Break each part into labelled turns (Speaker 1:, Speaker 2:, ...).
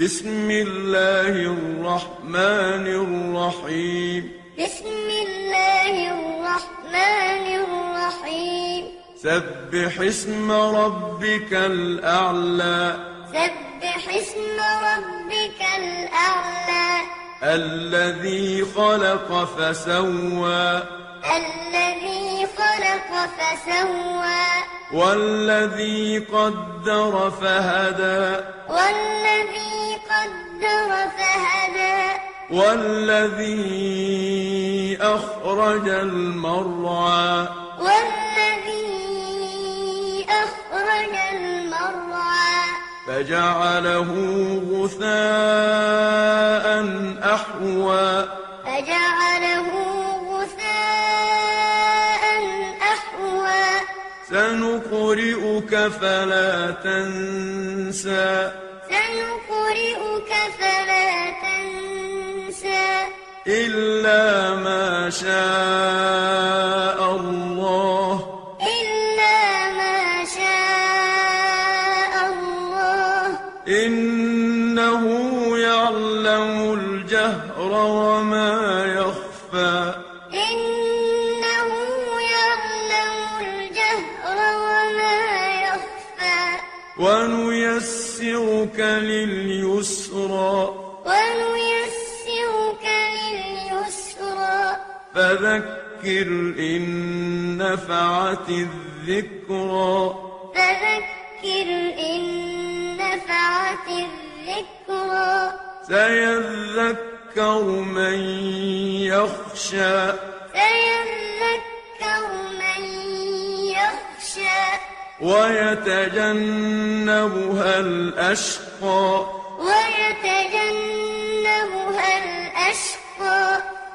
Speaker 1: بسم الله الرحمن الرحيم
Speaker 2: بسم الله الرحمن الرحيم
Speaker 1: سبح اسم ربك الأعلى
Speaker 2: سبح اسم ربك الأعلى
Speaker 1: الذي خلق فسوى
Speaker 2: الذي خلق فسوى
Speaker 1: والذي قدر فهدى
Speaker 2: والذي قدر فهدى والذي
Speaker 1: أخرج المرعى
Speaker 2: والذي أخرج المرعى
Speaker 1: فجعله غثاء أحوى
Speaker 2: فجعله غثاء أحوى
Speaker 1: سنقرئك فلا تنسى
Speaker 2: سنقرئك فلا تنسى
Speaker 1: إلا ما شاء الله
Speaker 2: إلا ما شاء الله
Speaker 1: إنه يعلم الجهر وما يخفى
Speaker 2: إنه يعلم الجهر وما يخفى
Speaker 1: ونيسرك لليسرى
Speaker 2: ونيسرك لليسرى
Speaker 1: فذكر إن نفعت الذكرى
Speaker 2: فذكر إن نفعت الذكرى
Speaker 1: سيذكر من يخشى
Speaker 2: سيذكر من يخشى
Speaker 1: ويتجنبها الأشقى
Speaker 2: ويتجنبها الأشقى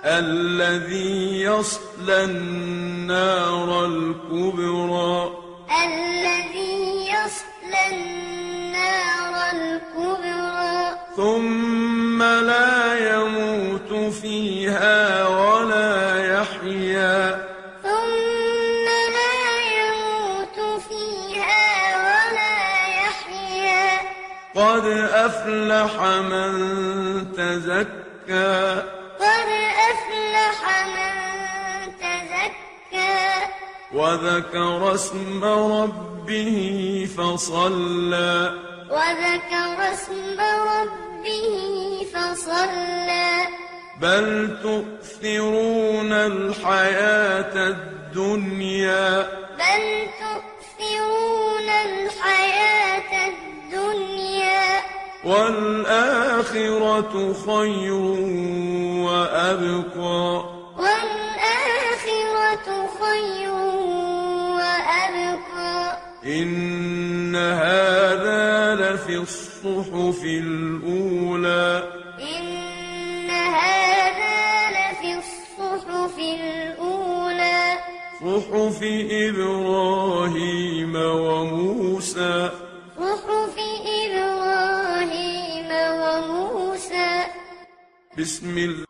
Speaker 1: الذي يصلى النار الكبرى
Speaker 2: الذي يصلى النار الكبرى
Speaker 1: ثم لا يموت فيها ولا يحيا
Speaker 2: ثم لا يموت فيها ولا يحيا
Speaker 1: قد أفلح من تزكى
Speaker 2: قد أفلح من تزكى
Speaker 1: وذكر اسم ربه فصلى
Speaker 2: وذكر اسم ربه فصلى
Speaker 1: بل تؤثرون الحياة الدنيا
Speaker 2: بل تؤثرون الحياة الدنيا
Speaker 1: والآخرة خير وأبقى
Speaker 2: والآخرة خير وأبقى
Speaker 1: إن هذا لفي الصحف الأولى
Speaker 2: إن هذا لفي الصحف الأولى
Speaker 1: صحف إبراهيم وموسى
Speaker 2: صحف إبراهيم وموسى
Speaker 1: بسم الله